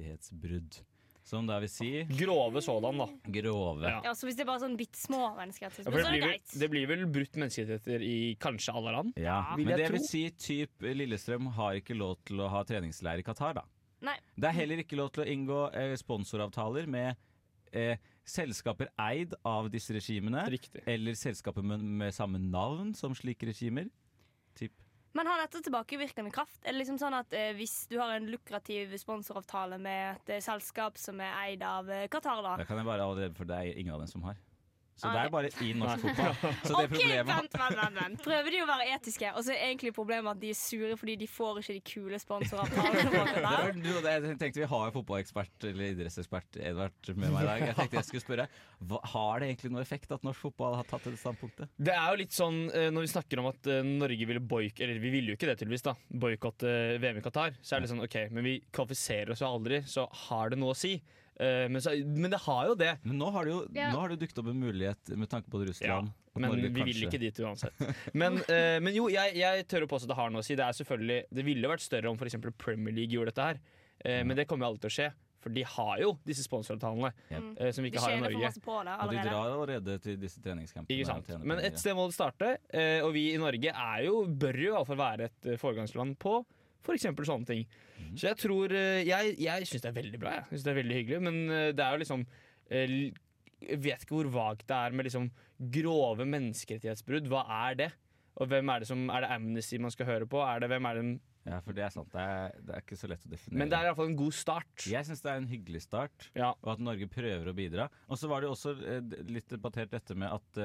Speaker 5: menneskerettighetsbrudd. Som da vil si
Speaker 10: Grove sådan, da.
Speaker 5: grove.
Speaker 10: Ja.
Speaker 1: Ja, så Hvis det er bare sånn bitt små mennesker, så
Speaker 10: Ja,
Speaker 1: er
Speaker 10: for det,
Speaker 1: det
Speaker 10: blir vel,
Speaker 1: greit.
Speaker 10: det blir vel brutt menneskerettigheter i kanskje alle land?
Speaker 5: Ja,
Speaker 10: Vil
Speaker 5: men
Speaker 10: jeg
Speaker 5: det vil
Speaker 10: tro.
Speaker 5: si typ Lillestrøm har ikke lov til å ha treningsleir i Qatar, da.
Speaker 1: Nei.
Speaker 5: Det er heller ikke lov til å inngå eh, sponsoravtaler med eh, selskaper eid av disse regimene,
Speaker 10: Riktig.
Speaker 5: eller selskaper med, med samme navn som slike regimer. Typ.
Speaker 1: Men har dette tilbakevirkende kraft? Er det liksom sånn at eh, Hvis du har en lukrativ sponsoravtale med et eh, selskap som er eid av eh, Qatar, da
Speaker 5: Da kan jeg bare allerede, for det er ingen av dem som har. Så
Speaker 1: Nei.
Speaker 5: det er bare i norsk fotball. Så det
Speaker 1: OK,
Speaker 5: problemet
Speaker 1: vent, vent, vent, vent. Prøver de å være etiske, og så er egentlig problemet at de er sure fordi de får ikke de kule sponsoravtalene. på
Speaker 5: Det
Speaker 1: Qatar.
Speaker 5: var- du, og det- jeg tenkte Vi har jo fotballekspert eller idrettsekspert Edvard med meg i dag. Jeg tenkte jeg skulle spørre hva, Har det egentlig noe effekt at norsk fotball har tatt det standpunktet?
Speaker 10: Det er jo litt sånn eh, når vi snakker om at eh, Norge ville boik... Eller vi ville jo ikke det, tydeligvis, da. Boikotte VM i Qatar. Så er det sånn OK, men vi kvalifiserer oss jo aldri, så har det noe å si? Eh, men, så, men det har jo det.
Speaker 5: Men nå har det jo
Speaker 9: Ja.
Speaker 5: nå har det jo dukket opp en mulighet med tanke på Russland. at
Speaker 10: Men
Speaker 5: Norge
Speaker 10: vi vil
Speaker 5: kanskje-
Speaker 10: ikke dit uansett. Men, eh, men jo, jeg, jeg tør å påstå at det har noe å si. Det, er selvfølgelig, det ville vært større om f.eks. Premier League gjorde dette her, Eh, men det kommer jo aldri til å skje. For de har jo disse sponsoravtalene
Speaker 5: Yep.
Speaker 10: eh, som vi
Speaker 1: De
Speaker 10: ikke har i
Speaker 1: tjener for
Speaker 10: Norge.
Speaker 1: masse på det
Speaker 5: Og de
Speaker 1: allerede.
Speaker 5: drar allerede til disse treningskampene.
Speaker 10: Ikke
Speaker 5: og
Speaker 10: sant?
Speaker 5: tjener
Speaker 10: Men
Speaker 5: penger,
Speaker 10: et sted må det starte, eh, og vi i Norge er jo, bør jo i alle fall være et eh, foregangsland på f.eks. sånne ting.
Speaker 5: Mhm.
Speaker 10: Så jeg tror eh, Jeg, jeg syns det er veldig bra, jeg. jeg synes det er veldig hyggelig, men eh, det er jo liksom eh, l- Jeg vet ikke hvor vagt det er med liksom grove menneskerettighetsbrudd. Hva er det? Og hvem er det som Er det Amnesty man skal høre på? Er det, hvem er det?
Speaker 5: Ja, for det er sant. Det er, det er ikke så lett å definere.
Speaker 10: Men det er i alle fall en god start.
Speaker 5: Jeg syns det er en hyggelig start,
Speaker 10: Ja.
Speaker 5: og at Norge prøver å bidra. Og så var det jo også eh, d- eh, litt debattert dette med at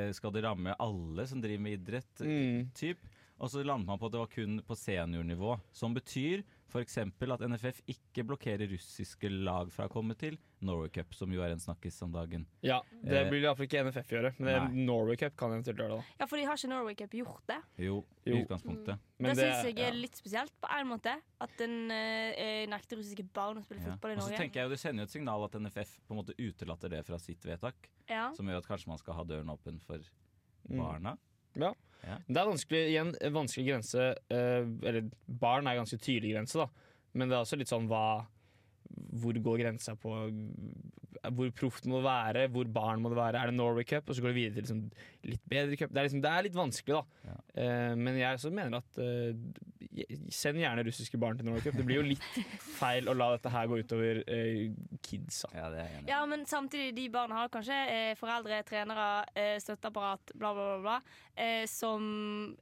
Speaker 5: eh, skal det ramme alle som driver med idrett?
Speaker 10: Mm.
Speaker 5: Typ. Og så landet man på at det var kun på seniornivå. Som betyr f.eks. at NFF ikke blokkerer russiske lag fra å komme til Norway Cup, som jo er en snakkis om dagen.
Speaker 10: Ja, Det
Speaker 5: Eh,
Speaker 10: vil iallfall ikke NFF gjøre, men det
Speaker 5: nei.
Speaker 10: Norway Cup kan eventuelt gjøre det. da
Speaker 1: Ja, fordi har ikke Norway Cup gjort det?
Speaker 5: Jo,
Speaker 10: Jo.
Speaker 5: i utgangspunktet.
Speaker 10: Men
Speaker 1: det syns jeg
Speaker 10: ja.
Speaker 1: er litt spesielt, på en måte. At en eh, nekter russiske barn å spille
Speaker 5: Ja.
Speaker 1: fotball i
Speaker 5: Og så
Speaker 1: Norge.
Speaker 5: tenker jeg jo Det sender jo et signal at NFF på en måte utelater det fra sitt vedtak,
Speaker 1: Ja.
Speaker 5: som gjør at kanskje man skal ha døren åpen for
Speaker 10: Mm.
Speaker 5: barna.
Speaker 10: Det er vanskelig, igjen, en vanskelig grense eh, Eller barn er en ganske tydelig grense, da. Men det er også litt sånn hva Hvor går grensa på Hvor proft må det være? Hvor barn må det være? Er det Norway Cup? Og så går det videre til liksom, litt bedre cup. Det er, liksom, det er litt vanskelig, da. Eh, men jeg også mener at eh, Send gjerne russiske barn til Norway Cup. Det blir jo litt feil å la dette her gå utover eh, kidsa.
Speaker 5: Ja, det er jeg enig i.
Speaker 1: Ja, men samtidig, de barna har kanskje eh, foreldre, trenere, eh, støtteapparat, bla, bla, bla, bla eh, som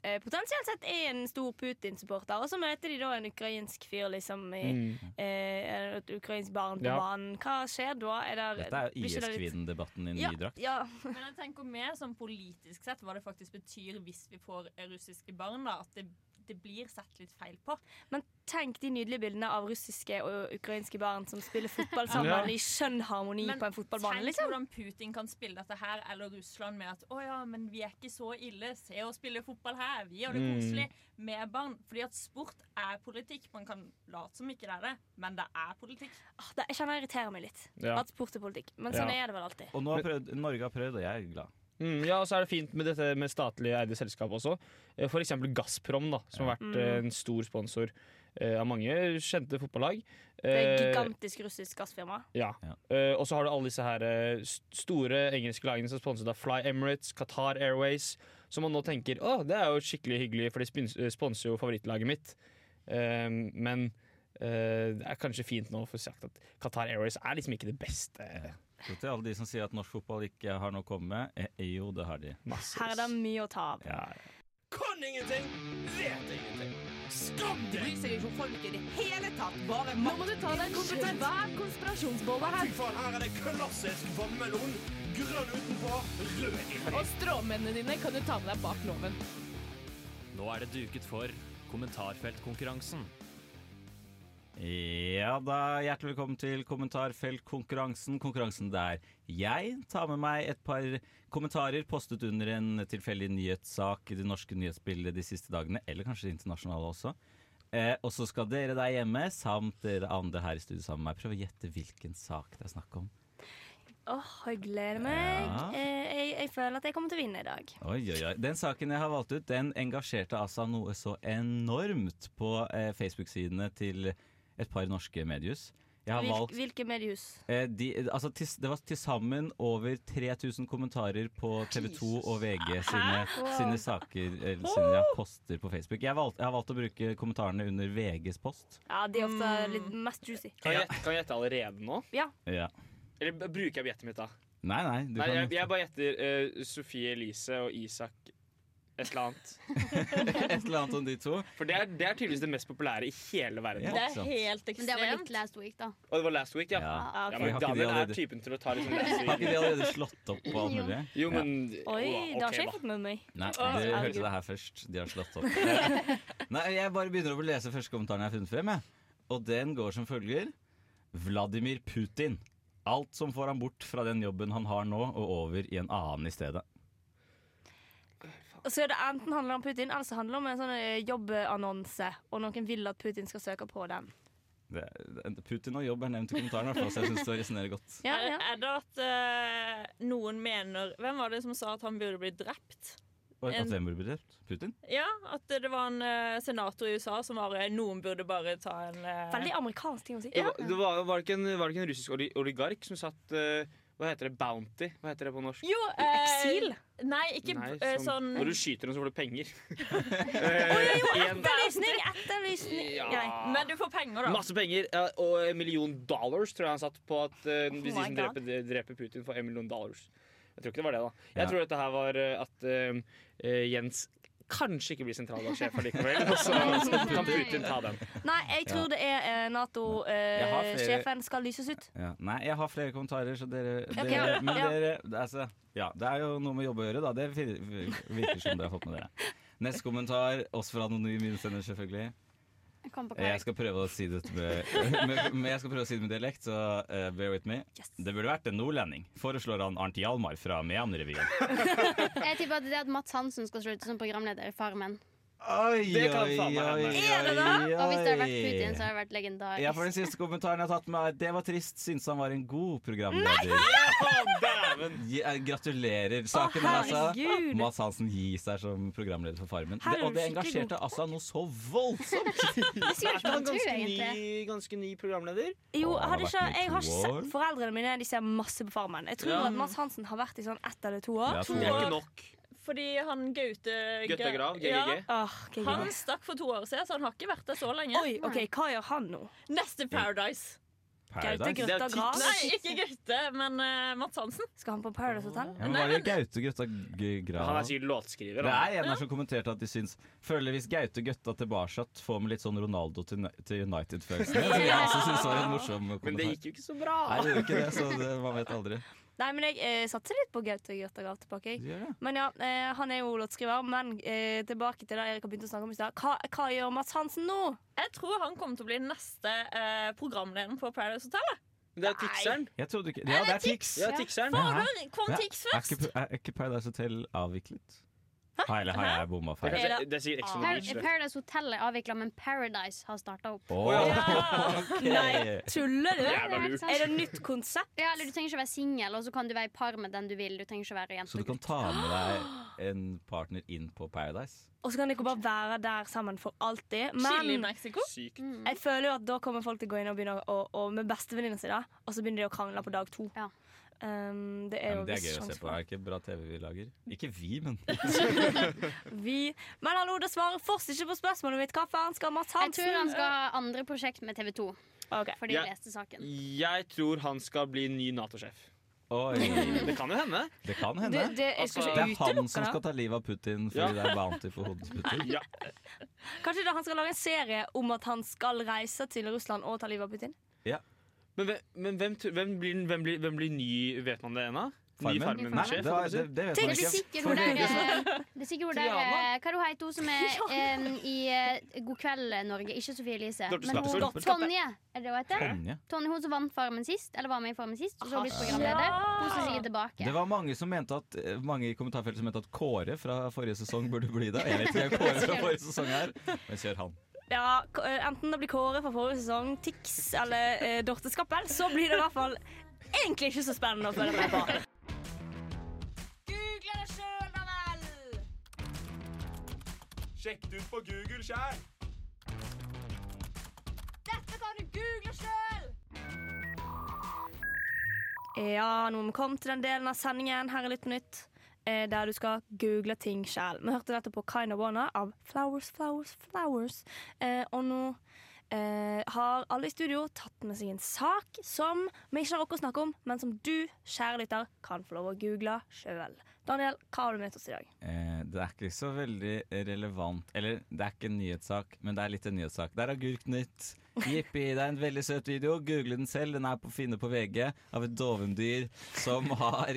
Speaker 1: eh, potensielt sett er en stor Putin-supporter. Og så møter de da en ukrainsk fyr, liksom, i,
Speaker 10: Mm.
Speaker 1: eh, et ukrainsk barn på
Speaker 10: Ja.
Speaker 1: banen. Hva skjer da? Er der,
Speaker 5: Dette er
Speaker 1: blir
Speaker 5: jo
Speaker 1: ikke det litt-
Speaker 5: IS-kvinnedebatten i ny
Speaker 1: Ja,
Speaker 5: drakt.
Speaker 1: ja.
Speaker 6: Men jeg tenker mer sånn politisk sett hva det faktisk betyr hvis vi får russiske barn. da, At det, det blir sett litt feil på.
Speaker 1: Men tenk de nydelige bildene av russiske og ukrainske barn som spiller fotball sammen
Speaker 10: Ja.
Speaker 1: i skjønn harmoni
Speaker 6: Men
Speaker 1: på en fotballbane.
Speaker 6: Tenk
Speaker 1: Liksom.
Speaker 6: hvordan Putin kan spille dette her, eller Russland med at 'Å ja, men vi er ikke så ille. Se oss spille fotball her. Vi gjør det
Speaker 10: Mm.
Speaker 6: koselig med barn.' Fordi at sport er politikk. Man kan late som ikke det er det, men det er politikk.
Speaker 1: Ah, det, jeg kjenner jeg irriterer meg litt.
Speaker 10: Ja.
Speaker 1: At sport er politikk. Men sånn
Speaker 10: Ja.
Speaker 1: er det vel alltid.
Speaker 5: Og nå har prøvd, Norge har prøvd, og jeg er glad.
Speaker 10: Mm, ja, og så er det fint med dette med statlig eide selskap også. Eh, For eksempel Gazprom, da, som har vært eh, en stor sponsor eh, av mange kjente fotballag.
Speaker 1: Det er et
Speaker 10: Eh,
Speaker 1: gigantisk russisk gassfirma.
Speaker 10: ja. Eh, og så har du alle disse her eh, st- store engelske lagene som er sponset av Fly Emirates, Qatar Airways, som man nå tenker å, det er jo skikkelig hyggelig, for de spins- eh, sponser jo favorittlaget mitt. Eh, men eh, det er kanskje fint nå å få sagt at Qatar Airways er liksom ikke det beste.
Speaker 5: Så til alle de som sier at norsk fotball ikke har noe å komme med, eh, eh, jo, det har de.
Speaker 10: Masse.
Speaker 1: Her er det mye å ta av.
Speaker 5: Ja.
Speaker 4: Kan ingenting, vet ingenting. Skam deg!
Speaker 11: Bryr seg ikke om folk i det hele tatt. Bare Nå må du ta deg en svær konspirasjonsbolle
Speaker 4: Fy faen, her er det klassisk vannmelon. Grønn utenpå, rød inni.
Speaker 11: Og stråmennene dine kan du ta med deg bak loven.
Speaker 8: Nå er det duket for kommentarfeltkonkurransen.
Speaker 5: Ja da, hjertelig velkommen til kommentarfeltkonkurransen. Konkurransen der jeg tar med meg et par kommentarer postet under en tilfeldig nyhetssak i det norske nyhetsbildet de siste dagene, eller kanskje det internasjonale også. Eh, og så skal dere der hjemme, samt dere andre her i studio sammen med meg, prøve å gjette hvilken sak det er snakk om.
Speaker 1: Åh, jeg gleder meg.
Speaker 5: Ja.
Speaker 1: Eh, jeg, jeg føler at jeg kommer til å vinne i dag.
Speaker 5: Oi, oi, oi. Den saken jeg har valgt ut, den engasjerte altså noe så enormt på eh, Facebook-sidene til et par norske mediehus. Jeg har
Speaker 1: Hvil,
Speaker 5: valgt
Speaker 1: Hvilke mediehus?
Speaker 5: Eh, de, altså, til, det var til sammen over 3000 kommentarer på TV 2 og VG sine, sine saker eller sine ja, poster på Facebook. Jeg, valgte- jeg har valgt å bruke kommentarene under VGs post.
Speaker 1: Ja, de er ofte
Speaker 6: Mm.
Speaker 1: litt mest juicy.
Speaker 10: Kan jeg, kan jeg gjette allerede nå?
Speaker 5: Ja.
Speaker 10: Eller b- bruker jeg gjettet mitt da?
Speaker 5: Nei, nei, du
Speaker 10: Nei,
Speaker 5: kan
Speaker 10: jeg, jeg bare gjetter eh, Sofie Elise og Isak et eller annet.
Speaker 5: et eller annet om de to.
Speaker 10: For det er, det er tydeligvis det mest populære i hele verden.
Speaker 5: Ja.
Speaker 6: Det
Speaker 5: ikke
Speaker 6: er
Speaker 5: sant.
Speaker 6: helt
Speaker 9: Men det var litt
Speaker 6: ekstremt.
Speaker 9: last week, da.
Speaker 10: Og det var last week, ja.
Speaker 5: Ja.
Speaker 10: ja.
Speaker 1: Ah, ok.
Speaker 10: men
Speaker 5: Har ikke de
Speaker 10: Daniel er
Speaker 5: allerede-
Speaker 10: typen til å ta liksom
Speaker 5: Har ikke
Speaker 10: last
Speaker 5: de
Speaker 10: week.
Speaker 5: allerede slått opp på alt mulig?
Speaker 10: Jo, men
Speaker 1: Oi,
Speaker 10: Åh,
Speaker 1: det har
Speaker 10: ok,
Speaker 1: ikke jeg
Speaker 10: da.
Speaker 1: fått med meg.
Speaker 5: Nei,
Speaker 1: Å,
Speaker 5: dere
Speaker 1: herregud.
Speaker 5: hørte det her først. De har slått opp. Eh, Nei, jeg bare begynner å lese første kommentaren jeg har funnet frem. Jeg. Og den går som følger. Vladimir Putin. Alt som får ham bort fra den jobben han har nå, og over i en annen i stedet.
Speaker 1: Og så er det enten handler det om Putin, eller så handler det om en sånn eh, jobbannonse. Og noen vil at Putin skal søke på den.
Speaker 5: Det, det- Putin og jobb er nevnt i kommentaren, i hvert fall, så jeg syns det resonnerer godt.
Speaker 1: Ja,
Speaker 6: Er,
Speaker 1: ja.
Speaker 6: er det at eh, noen mener Hvem var det som sa at han burde bli drept?
Speaker 5: Og
Speaker 6: En-
Speaker 5: at hvem burde bli drept? Putin?
Speaker 6: Ja, at det var en eh, senator i USA som var eh, Noen burde bare ta en eh,
Speaker 1: Veldig amerikansk ting å si.
Speaker 10: Det var, det var, var, det ikke en, var det ikke en russisk oli- oligark som satt eh, Hva heter det? Bounty? Hva heter det på norsk?
Speaker 6: Jo, eh,
Speaker 1: Eksil?
Speaker 6: Nei, ikke
Speaker 10: Nei,
Speaker 6: eh,
Speaker 10: sånn,
Speaker 6: sånn
Speaker 10: Når du skyter noen, så får du penger. Eh, en-
Speaker 1: Etterlysning! Etterlysning!
Speaker 10: Ja.
Speaker 1: Greit.
Speaker 6: Men du får penger, da.
Speaker 10: Masse penger, ja, og en million dollars tror jeg han satt på at eh, hvis de
Speaker 6: my
Speaker 10: som
Speaker 6: God.
Speaker 10: dreper, dreper Putin, får en million dollars. Jeg tror ikke det var det, da. Jeg
Speaker 5: Ja.
Speaker 10: tror dette her var eh, at eh, eh, Jens kanskje ikke blir sentralbanksjef allikevel, og så, så kan Putin ta den.
Speaker 1: Nei, jeg tror det er eh,
Speaker 5: Jeg har flere-
Speaker 1: Nato-sjefen skal lyses ut.
Speaker 5: Ja. Nei, jeg har flere kommentarer, så dere, dere
Speaker 1: ja.
Speaker 5: Men
Speaker 1: Ja.
Speaker 5: dere altså, ja, Det er jo noe med jobb å gjøre, da. Det vir- vir- virker som dere har fått med dere. Neste kommentar, også fra anonym innsender, selvfølgelig.
Speaker 9: Jeg kom på hva
Speaker 5: Jeg skal prøve å si det med, med, med, jeg skal prøve å si det med dialekt, så eh, bear with me. Det burde vært en nordlending, foreslår han Arnt Hjalmar fra Mehamn-revyen.
Speaker 9: Jeg tipper at det er at Mats Hansen skal slutte som programleder i Farmen.
Speaker 5: Det
Speaker 10: kan faen meg hende.
Speaker 9: Er det da?
Speaker 5: oi,
Speaker 9: Og hvis det hadde vært
Speaker 5: oi.
Speaker 9: Putin, så hadde det vært legendarisk.
Speaker 5: Ja, for den siste kommentaren jeg har tatt med er, Det var trist, synes han var en god programleder Ja, Gratulerer saken
Speaker 10: Å,
Speaker 5: er altså
Speaker 10: herregud.
Speaker 5: Mads Hansen gir seg som programleder for Farmen
Speaker 10: Her er
Speaker 5: det, Og
Speaker 10: du
Speaker 5: det
Speaker 10: skikkelig
Speaker 5: engasjerte altså noe så voldsomt
Speaker 1: Jeg skulle ikke
Speaker 10: Er han
Speaker 1: tro,
Speaker 10: ganske
Speaker 1: egentlig.
Speaker 10: ny, ganske ny programleder?
Speaker 1: Jo, jeg, hadde
Speaker 5: Å, han har
Speaker 1: ikke,
Speaker 5: vært med i
Speaker 1: jeg har
Speaker 5: to
Speaker 1: ikke
Speaker 5: år.
Speaker 1: sett Foreldrene mine de ser masse på Farmen. Jeg tror
Speaker 10: Ja.
Speaker 1: at Mads Hansen har vært i sånn ett eller to år.
Speaker 5: Ja,
Speaker 10: To år.
Speaker 6: Fordi han Gaute
Speaker 10: Gaute
Speaker 6: Gra-
Speaker 10: Grav, GGG.
Speaker 1: GGG.
Speaker 6: Han stakk for to år siden, så han har ikke vært der så lenge.
Speaker 1: Oi, ok, Hva gjør han nå?
Speaker 6: Neste Paradise.
Speaker 5: Paradise
Speaker 1: Gaute Grøtta Grav?
Speaker 6: Nei, ikke Gaute, men eh, Mads Hansen.
Speaker 1: Skal han på Paradise Hotel?
Speaker 5: ja, men var det Gaute Gøtta Grav?
Speaker 10: Han er sikkert låtskriver.
Speaker 5: Det er en
Speaker 10: han.
Speaker 5: her som kommenterte at de syns Føler hvis Gaute Gøtta tilbake Får med litt sånn Ronaldo til, til United-følelsen Som jeg også synes var en morsom kommentar
Speaker 10: Men det gikk jo ikke så bra.
Speaker 5: Nei, det gjør ikke det, så det, man vet aldri
Speaker 1: Nei, men jeg eh, satser litt på Gaute Grøtta Grav tilbake.
Speaker 5: Du gjør
Speaker 1: Jeg.
Speaker 5: det.
Speaker 1: Men ja, eh, Han er jo låtskriver, men eh, tilbake til det Erik har begynt å snakke om i stad. Hva, hva gjør Mads Hansen nå?
Speaker 6: Jeg tror han kommer til å bli neste eh, programleder på Paradise Hotel.
Speaker 10: Det er Tixeren.
Speaker 5: Jeg trodde ikke Ja, det er Tix!
Speaker 10: Ja, Tixeren.
Speaker 6: Fader,
Speaker 5: Hæ?
Speaker 6: kom
Speaker 5: Hæ?
Speaker 6: Tix
Speaker 5: Er
Speaker 6: først?
Speaker 5: ikke, er ikke Paradise Hotel avviklet? Har, eller har jeg bomma feil?
Speaker 9: Eller-
Speaker 10: Det er sikkert Ex on the
Speaker 9: Par
Speaker 10: Beach, det.
Speaker 9: Paradise Hotel er avvikla, men Paradise har starta opp.
Speaker 5: Åh, ok.
Speaker 1: Nei, tuller du?
Speaker 9: Ja, det er helt sant.
Speaker 1: Er det nytt konsept?
Speaker 9: Ja, eller Du trenger ikke å være singel, og så kan du være i par med den du vil. Du trenger ikke å være jente.
Speaker 5: Så du kan ta med deg en partner inn på Paradise?
Speaker 1: Og så kan dere bare være der sammen for alltid.
Speaker 6: Chile i
Speaker 1: Men
Speaker 6: Mexico.
Speaker 9: Mm.
Speaker 1: jeg føler jo at da kommer folk til å gå inn og begynne å, å, med bestevenninna si, da. Og så begynner de å krangle på dag to. Um, det
Speaker 5: Ja,
Speaker 1: er jo
Speaker 5: men det er
Speaker 1: viss
Speaker 5: gøy å
Speaker 1: sjanse
Speaker 5: se på.
Speaker 1: for
Speaker 5: Er det ikke bra TV vi lager? Ikke vi, men
Speaker 1: Vi, men hallo, det svarer fortsatt ikke på spørsmålet mitt. Hva faen skal Mads
Speaker 9: Jeg
Speaker 1: Hansen?
Speaker 9: tror han skal ha andre prosjekt med TV 2. For de
Speaker 10: Ja.
Speaker 9: leste saken.
Speaker 10: Jeg tror han skal bli ny Nato-sjef. Det kan jo hende.
Speaker 5: det kan hende.
Speaker 10: Det- det- jeg skal
Speaker 5: Altså, det
Speaker 10: ikke
Speaker 5: er han
Speaker 10: utelukke
Speaker 5: som
Speaker 10: det.
Speaker 5: skal ta livet av Putin fordi
Speaker 10: Ja.
Speaker 5: det er bounty for hodet til Putin.
Speaker 10: Ja.
Speaker 1: Kanskje da han skal lage en serie om at han skal reise til Russland og ta livet av Putin?
Speaker 10: Men, hvem, men hvem, tr- hvem, blir, hvem, blir, hvem blir ny Vet man det ennå? Ny
Speaker 5: Farmen?
Speaker 10: Farmen-sjef?
Speaker 5: Nei, det var-
Speaker 10: holdt jeg på å si.
Speaker 5: det- det vet
Speaker 9: Det blir sikkert hun der, eh, det er sikkert hun der eh,
Speaker 10: Triana.
Speaker 9: Hva er hun heter hun som er eh, i eh, God kveld, Norge? Ikke Sofie Elise.
Speaker 5: Dorthe
Speaker 9: Men hun,
Speaker 5: Skappel.
Speaker 9: Tonje, er det hun heter?
Speaker 5: Tonje.
Speaker 9: Tonje, hun som vant Farmen sist, eller var med i Farmen sist, og så har hun blitt
Speaker 5: Ah,
Speaker 9: programleder. Hun skal sikkert tilbake.
Speaker 5: Det var mange som mente at eh, Mange i kommentarfeltet som mente at Kåre fra forrige sesong burde bli det. Jeg vet ikke hvem Kåre fra forrige sesong er, men kjør han.
Speaker 1: Ja, k- eh, Enten det blir Kåre fra forrige sesong, Tix eller eh, Dorte Skappel, så blir det i hvert fall egentlig ikke så spennende å følge med på.
Speaker 11: Google det sjøl, da vel!
Speaker 3: Sjekk det ut på Google sjæl!
Speaker 11: Dette kan du google sjøl!
Speaker 1: Ja, nå har vi kommet til den delen av sendingen her er Lytt på nytt, eh, der du skal google ting sjæl. Vi hørte dette på Kinda Wanna av Flowers, Flowers, Flowers. Eh, og nå eh, har alle i studio tatt med seg en sak som vi ikke har rukket å snakke om, men som du, kjære lytter, kan få lov å google sjøl. Daniel, hva har du med til oss i dag?
Speaker 5: Eh, det er ikke så veldig relevant Eller det er ikke en nyhetssak, men det er litt en nyhetssak. Der er Agurknytt. Jippi. Det er en veldig søt video. Google den selv. Den er på å finne på VG av et dovendyr som har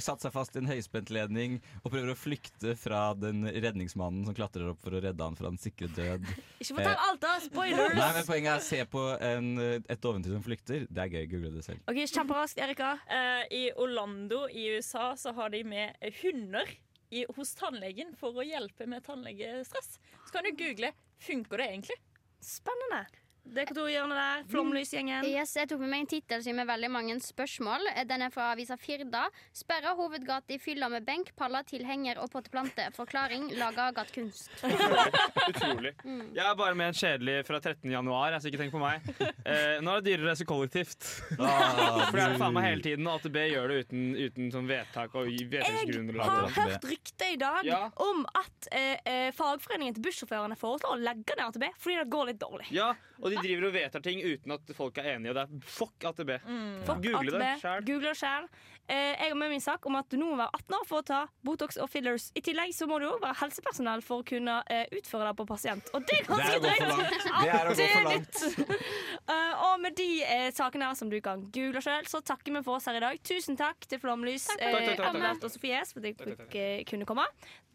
Speaker 5: satt seg fast i en høyspentledning og prøver å flykte fra den redningsmannen som klatrer opp for å redde han fra den sikre død.
Speaker 1: Ikke fortell alt, da! Spoilers!
Speaker 5: Eh. Nei, men Poenget er å se på en, et dovendyr som flykter. Det er gøy. Google det selv.
Speaker 1: Ok, Kjemperaskt, Erika.
Speaker 6: Eh, I Orlando i USA så har de med hunder i, hos tannlegen for å hjelpe med tannlegestress. Så kan du google funker det egentlig.
Speaker 1: Spennende. Det kontorhjørnet der. Flomlysgjengen.
Speaker 9: Yes, jeg tok med meg en tittel som gir meg veldig mange spørsmål. Eh, Den er fra avisa Firda. Sperra hovedgate i fylla med benk, paller, tilhenger og potteplante. Forklaring laga gatekunst.
Speaker 10: Utrolig.
Speaker 1: Mm.
Speaker 10: Jeg er bare med en kjedelig fra 13. januar, altså ikke tenk på meg. Eh, nå er det dyrere å reise kollektivt.
Speaker 5: Ah,
Speaker 10: For det er det faen meg
Speaker 5: du.
Speaker 10: hele tiden, og AtB gjør det uten, uten sånn vedtak og
Speaker 1: Jeg
Speaker 10: vedtaksgrunnlag.
Speaker 1: har hørt rykte i dag
Speaker 10: Ja.
Speaker 1: om at eh, eh, fagforeningen til bussjåførene foreslår å legge ned AtB fordi det går litt dårlig.
Speaker 10: Ja, og de driver og vedtar ting uten at folk er enige, og det er fuck AtB.
Speaker 1: Mm. Fuck
Speaker 10: Google det
Speaker 1: AtB,
Speaker 10: sjæl.
Speaker 1: Google det selv. Eh, jeg har med min sak om at du nå må være 18 år for å ta Botox og fillers. I tillegg så må du jo være helsepersonell for å kunne eh, utføre det på pasient. Og det er
Speaker 11: Det er å
Speaker 1: ganske
Speaker 11: gå for
Speaker 1: drøyt.
Speaker 11: langt. Det er å gå for
Speaker 1: litt. Eh, og med de eh, sakene her som du kan google sjøl, så takker vi for oss her i dag. Tusen takk til Flomlys,
Speaker 11: Takk, takk, takk, takk,
Speaker 1: eh,
Speaker 11: takk.
Speaker 1: Anne Bert og Sofie S for at dere fikk, eh, kunne komme.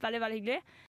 Speaker 1: Veldig, veldig hyggelig.